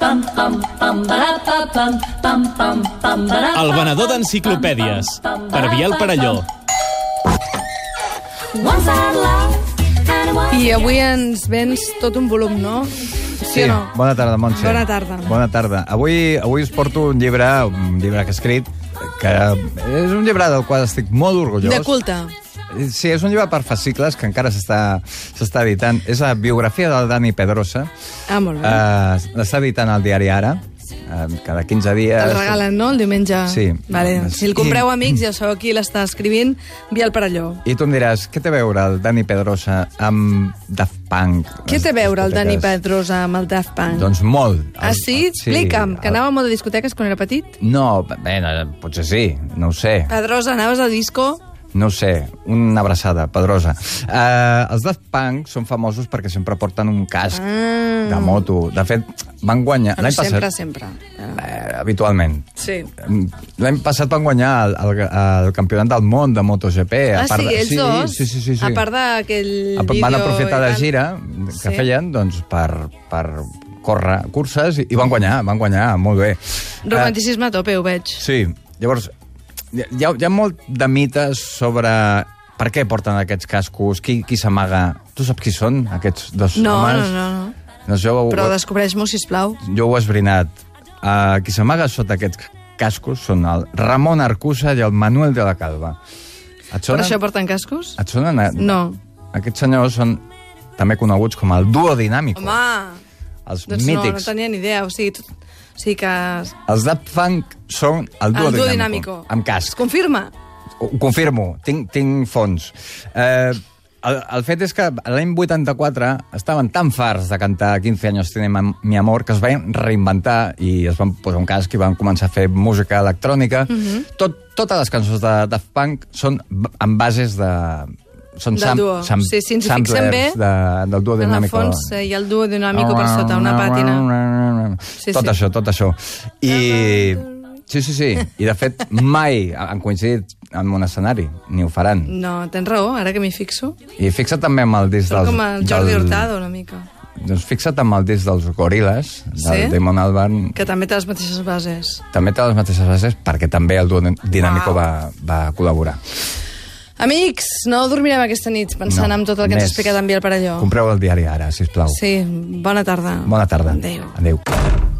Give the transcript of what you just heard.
Pam, pam, pam, barà, pa, pam, pam, pam, pam, barà, El pa, venedor pam, d'enciclopèdies, pam, pam, per barà, Biel pa, Parelló. pam. Once I had love, and once I avui ens vens tot un volum, no? Sí, o no? Bona tarda, Montse. Bona tarda. Bona tarda. Avui, avui us porto un llibre, un llibre que he escrit, que és un llibre del qual estic molt orgullós. Eh, De culte. Ah, Sí, és un llibre per fascicles que encara s'està s'està editant. És la biografia del Dani Pedrosa. Ah, molt bé. Eh, L'està editant al diari Ara, eh, cada 15 dies. El regalen, no?, el diumenge. eh, Sí. Vale. doncs, Si el compreu, amics, ja sabeu qui l'està escrivint, Biel Parelló. I tu em diràs, què té a veure el Dani Pedrosa amb Daft Punk? Què té a Les veure el Dani discoteques? Pedrosa amb el Daft Punk? Doncs molt. Ah, sí? Explica'm, que el- anàvem molt de discoteques quan era petit. No, bé, no, potser sí, no ho sé. Pedrosa, anaves a disco? No ho sé, una abraçada, Pedrosa. Uh, els Daft Punk són famosos perquè sempre porten un casc Ah. de moto. De fet, van guanyar... Bueno, l'any sempre, passat, sempre. Eh, habitualment. Sí. L'any passat van guanyar el, el, el campionat del món Eh, de MotoGP. Ah, sí, ells sí, dos? Sí, sí, sí, sí. A part d'aquell A part- vídeo... Van aprofitar i la tal. gira que Sí. feien doncs, per, per córrer curses i, i van guanyar, van guanyar, molt bé. Eh, Romanticisme a tope, ho veig. Sí, llavors, hi hi ha, hi ha molt de mites sobre per què porten aquests cascos, qui, qui s'amaga... Tu saps qui són, aquests dos No, homes? no, no, no. no. Jo, ho- Però descobreix-m'ho, sisplau. jo ho he esbrinat. Uh, qui s'amaga sota aquests cascos són el Ramon Arcusa i el Manuel de la Calva. Et Per sonen? això porten cascos? Et sonen? A... No. Aquests senyors són també coneguts com el duo dinàmico. Home, els doncs no, no mítics. tenia ni idea. O sigui, tot, o sigui que... Els Daft Punk són el duo, El duo dinàmico. dinàmico. Amb Es casc. confirma? Ho confirmo, tinc, tinc fons. Eh, el, el fet és que l'any 84 estaven tan farts de cantar 15 anys tiene ma- mi amor que es van reinventar i es van posar un casc i van començar a fer música electrònica. Mm Mhm. -hmm. Tot, totes les cançons de Daft Punk són b- amb bases de... Són Del duo. Sí, sí, ens hi samplers fixem bé, de, del duo En el dinàmico. fons eh, hi ha el duo dinàmico per sota, una pàtina. Sí, Sí, tot sí. sí. això, tot això. I... Sí, sí, sí. I, de fet, mai han coincidit en un escenari, ni ho faran. No, tens raó, ara que m'hi fixo. I fixa't també amb el disc Sóc dels... com el Jordi Hurtado, una mica. Doncs fixa't amb el disc dels Goril·les, del Sí? Damon Albarn, Que també té les mateixes bases. també té les mateixes bases, perquè també el duo dinàmico va, va col·laborar. Amics, no dormirem aquesta nit pensant en tot el que ens més. ha explicat en Biel Parelló. Compreu el diari ara, sisplau. Sí, bona tarda. Bona tarda. Adéu. Adéu.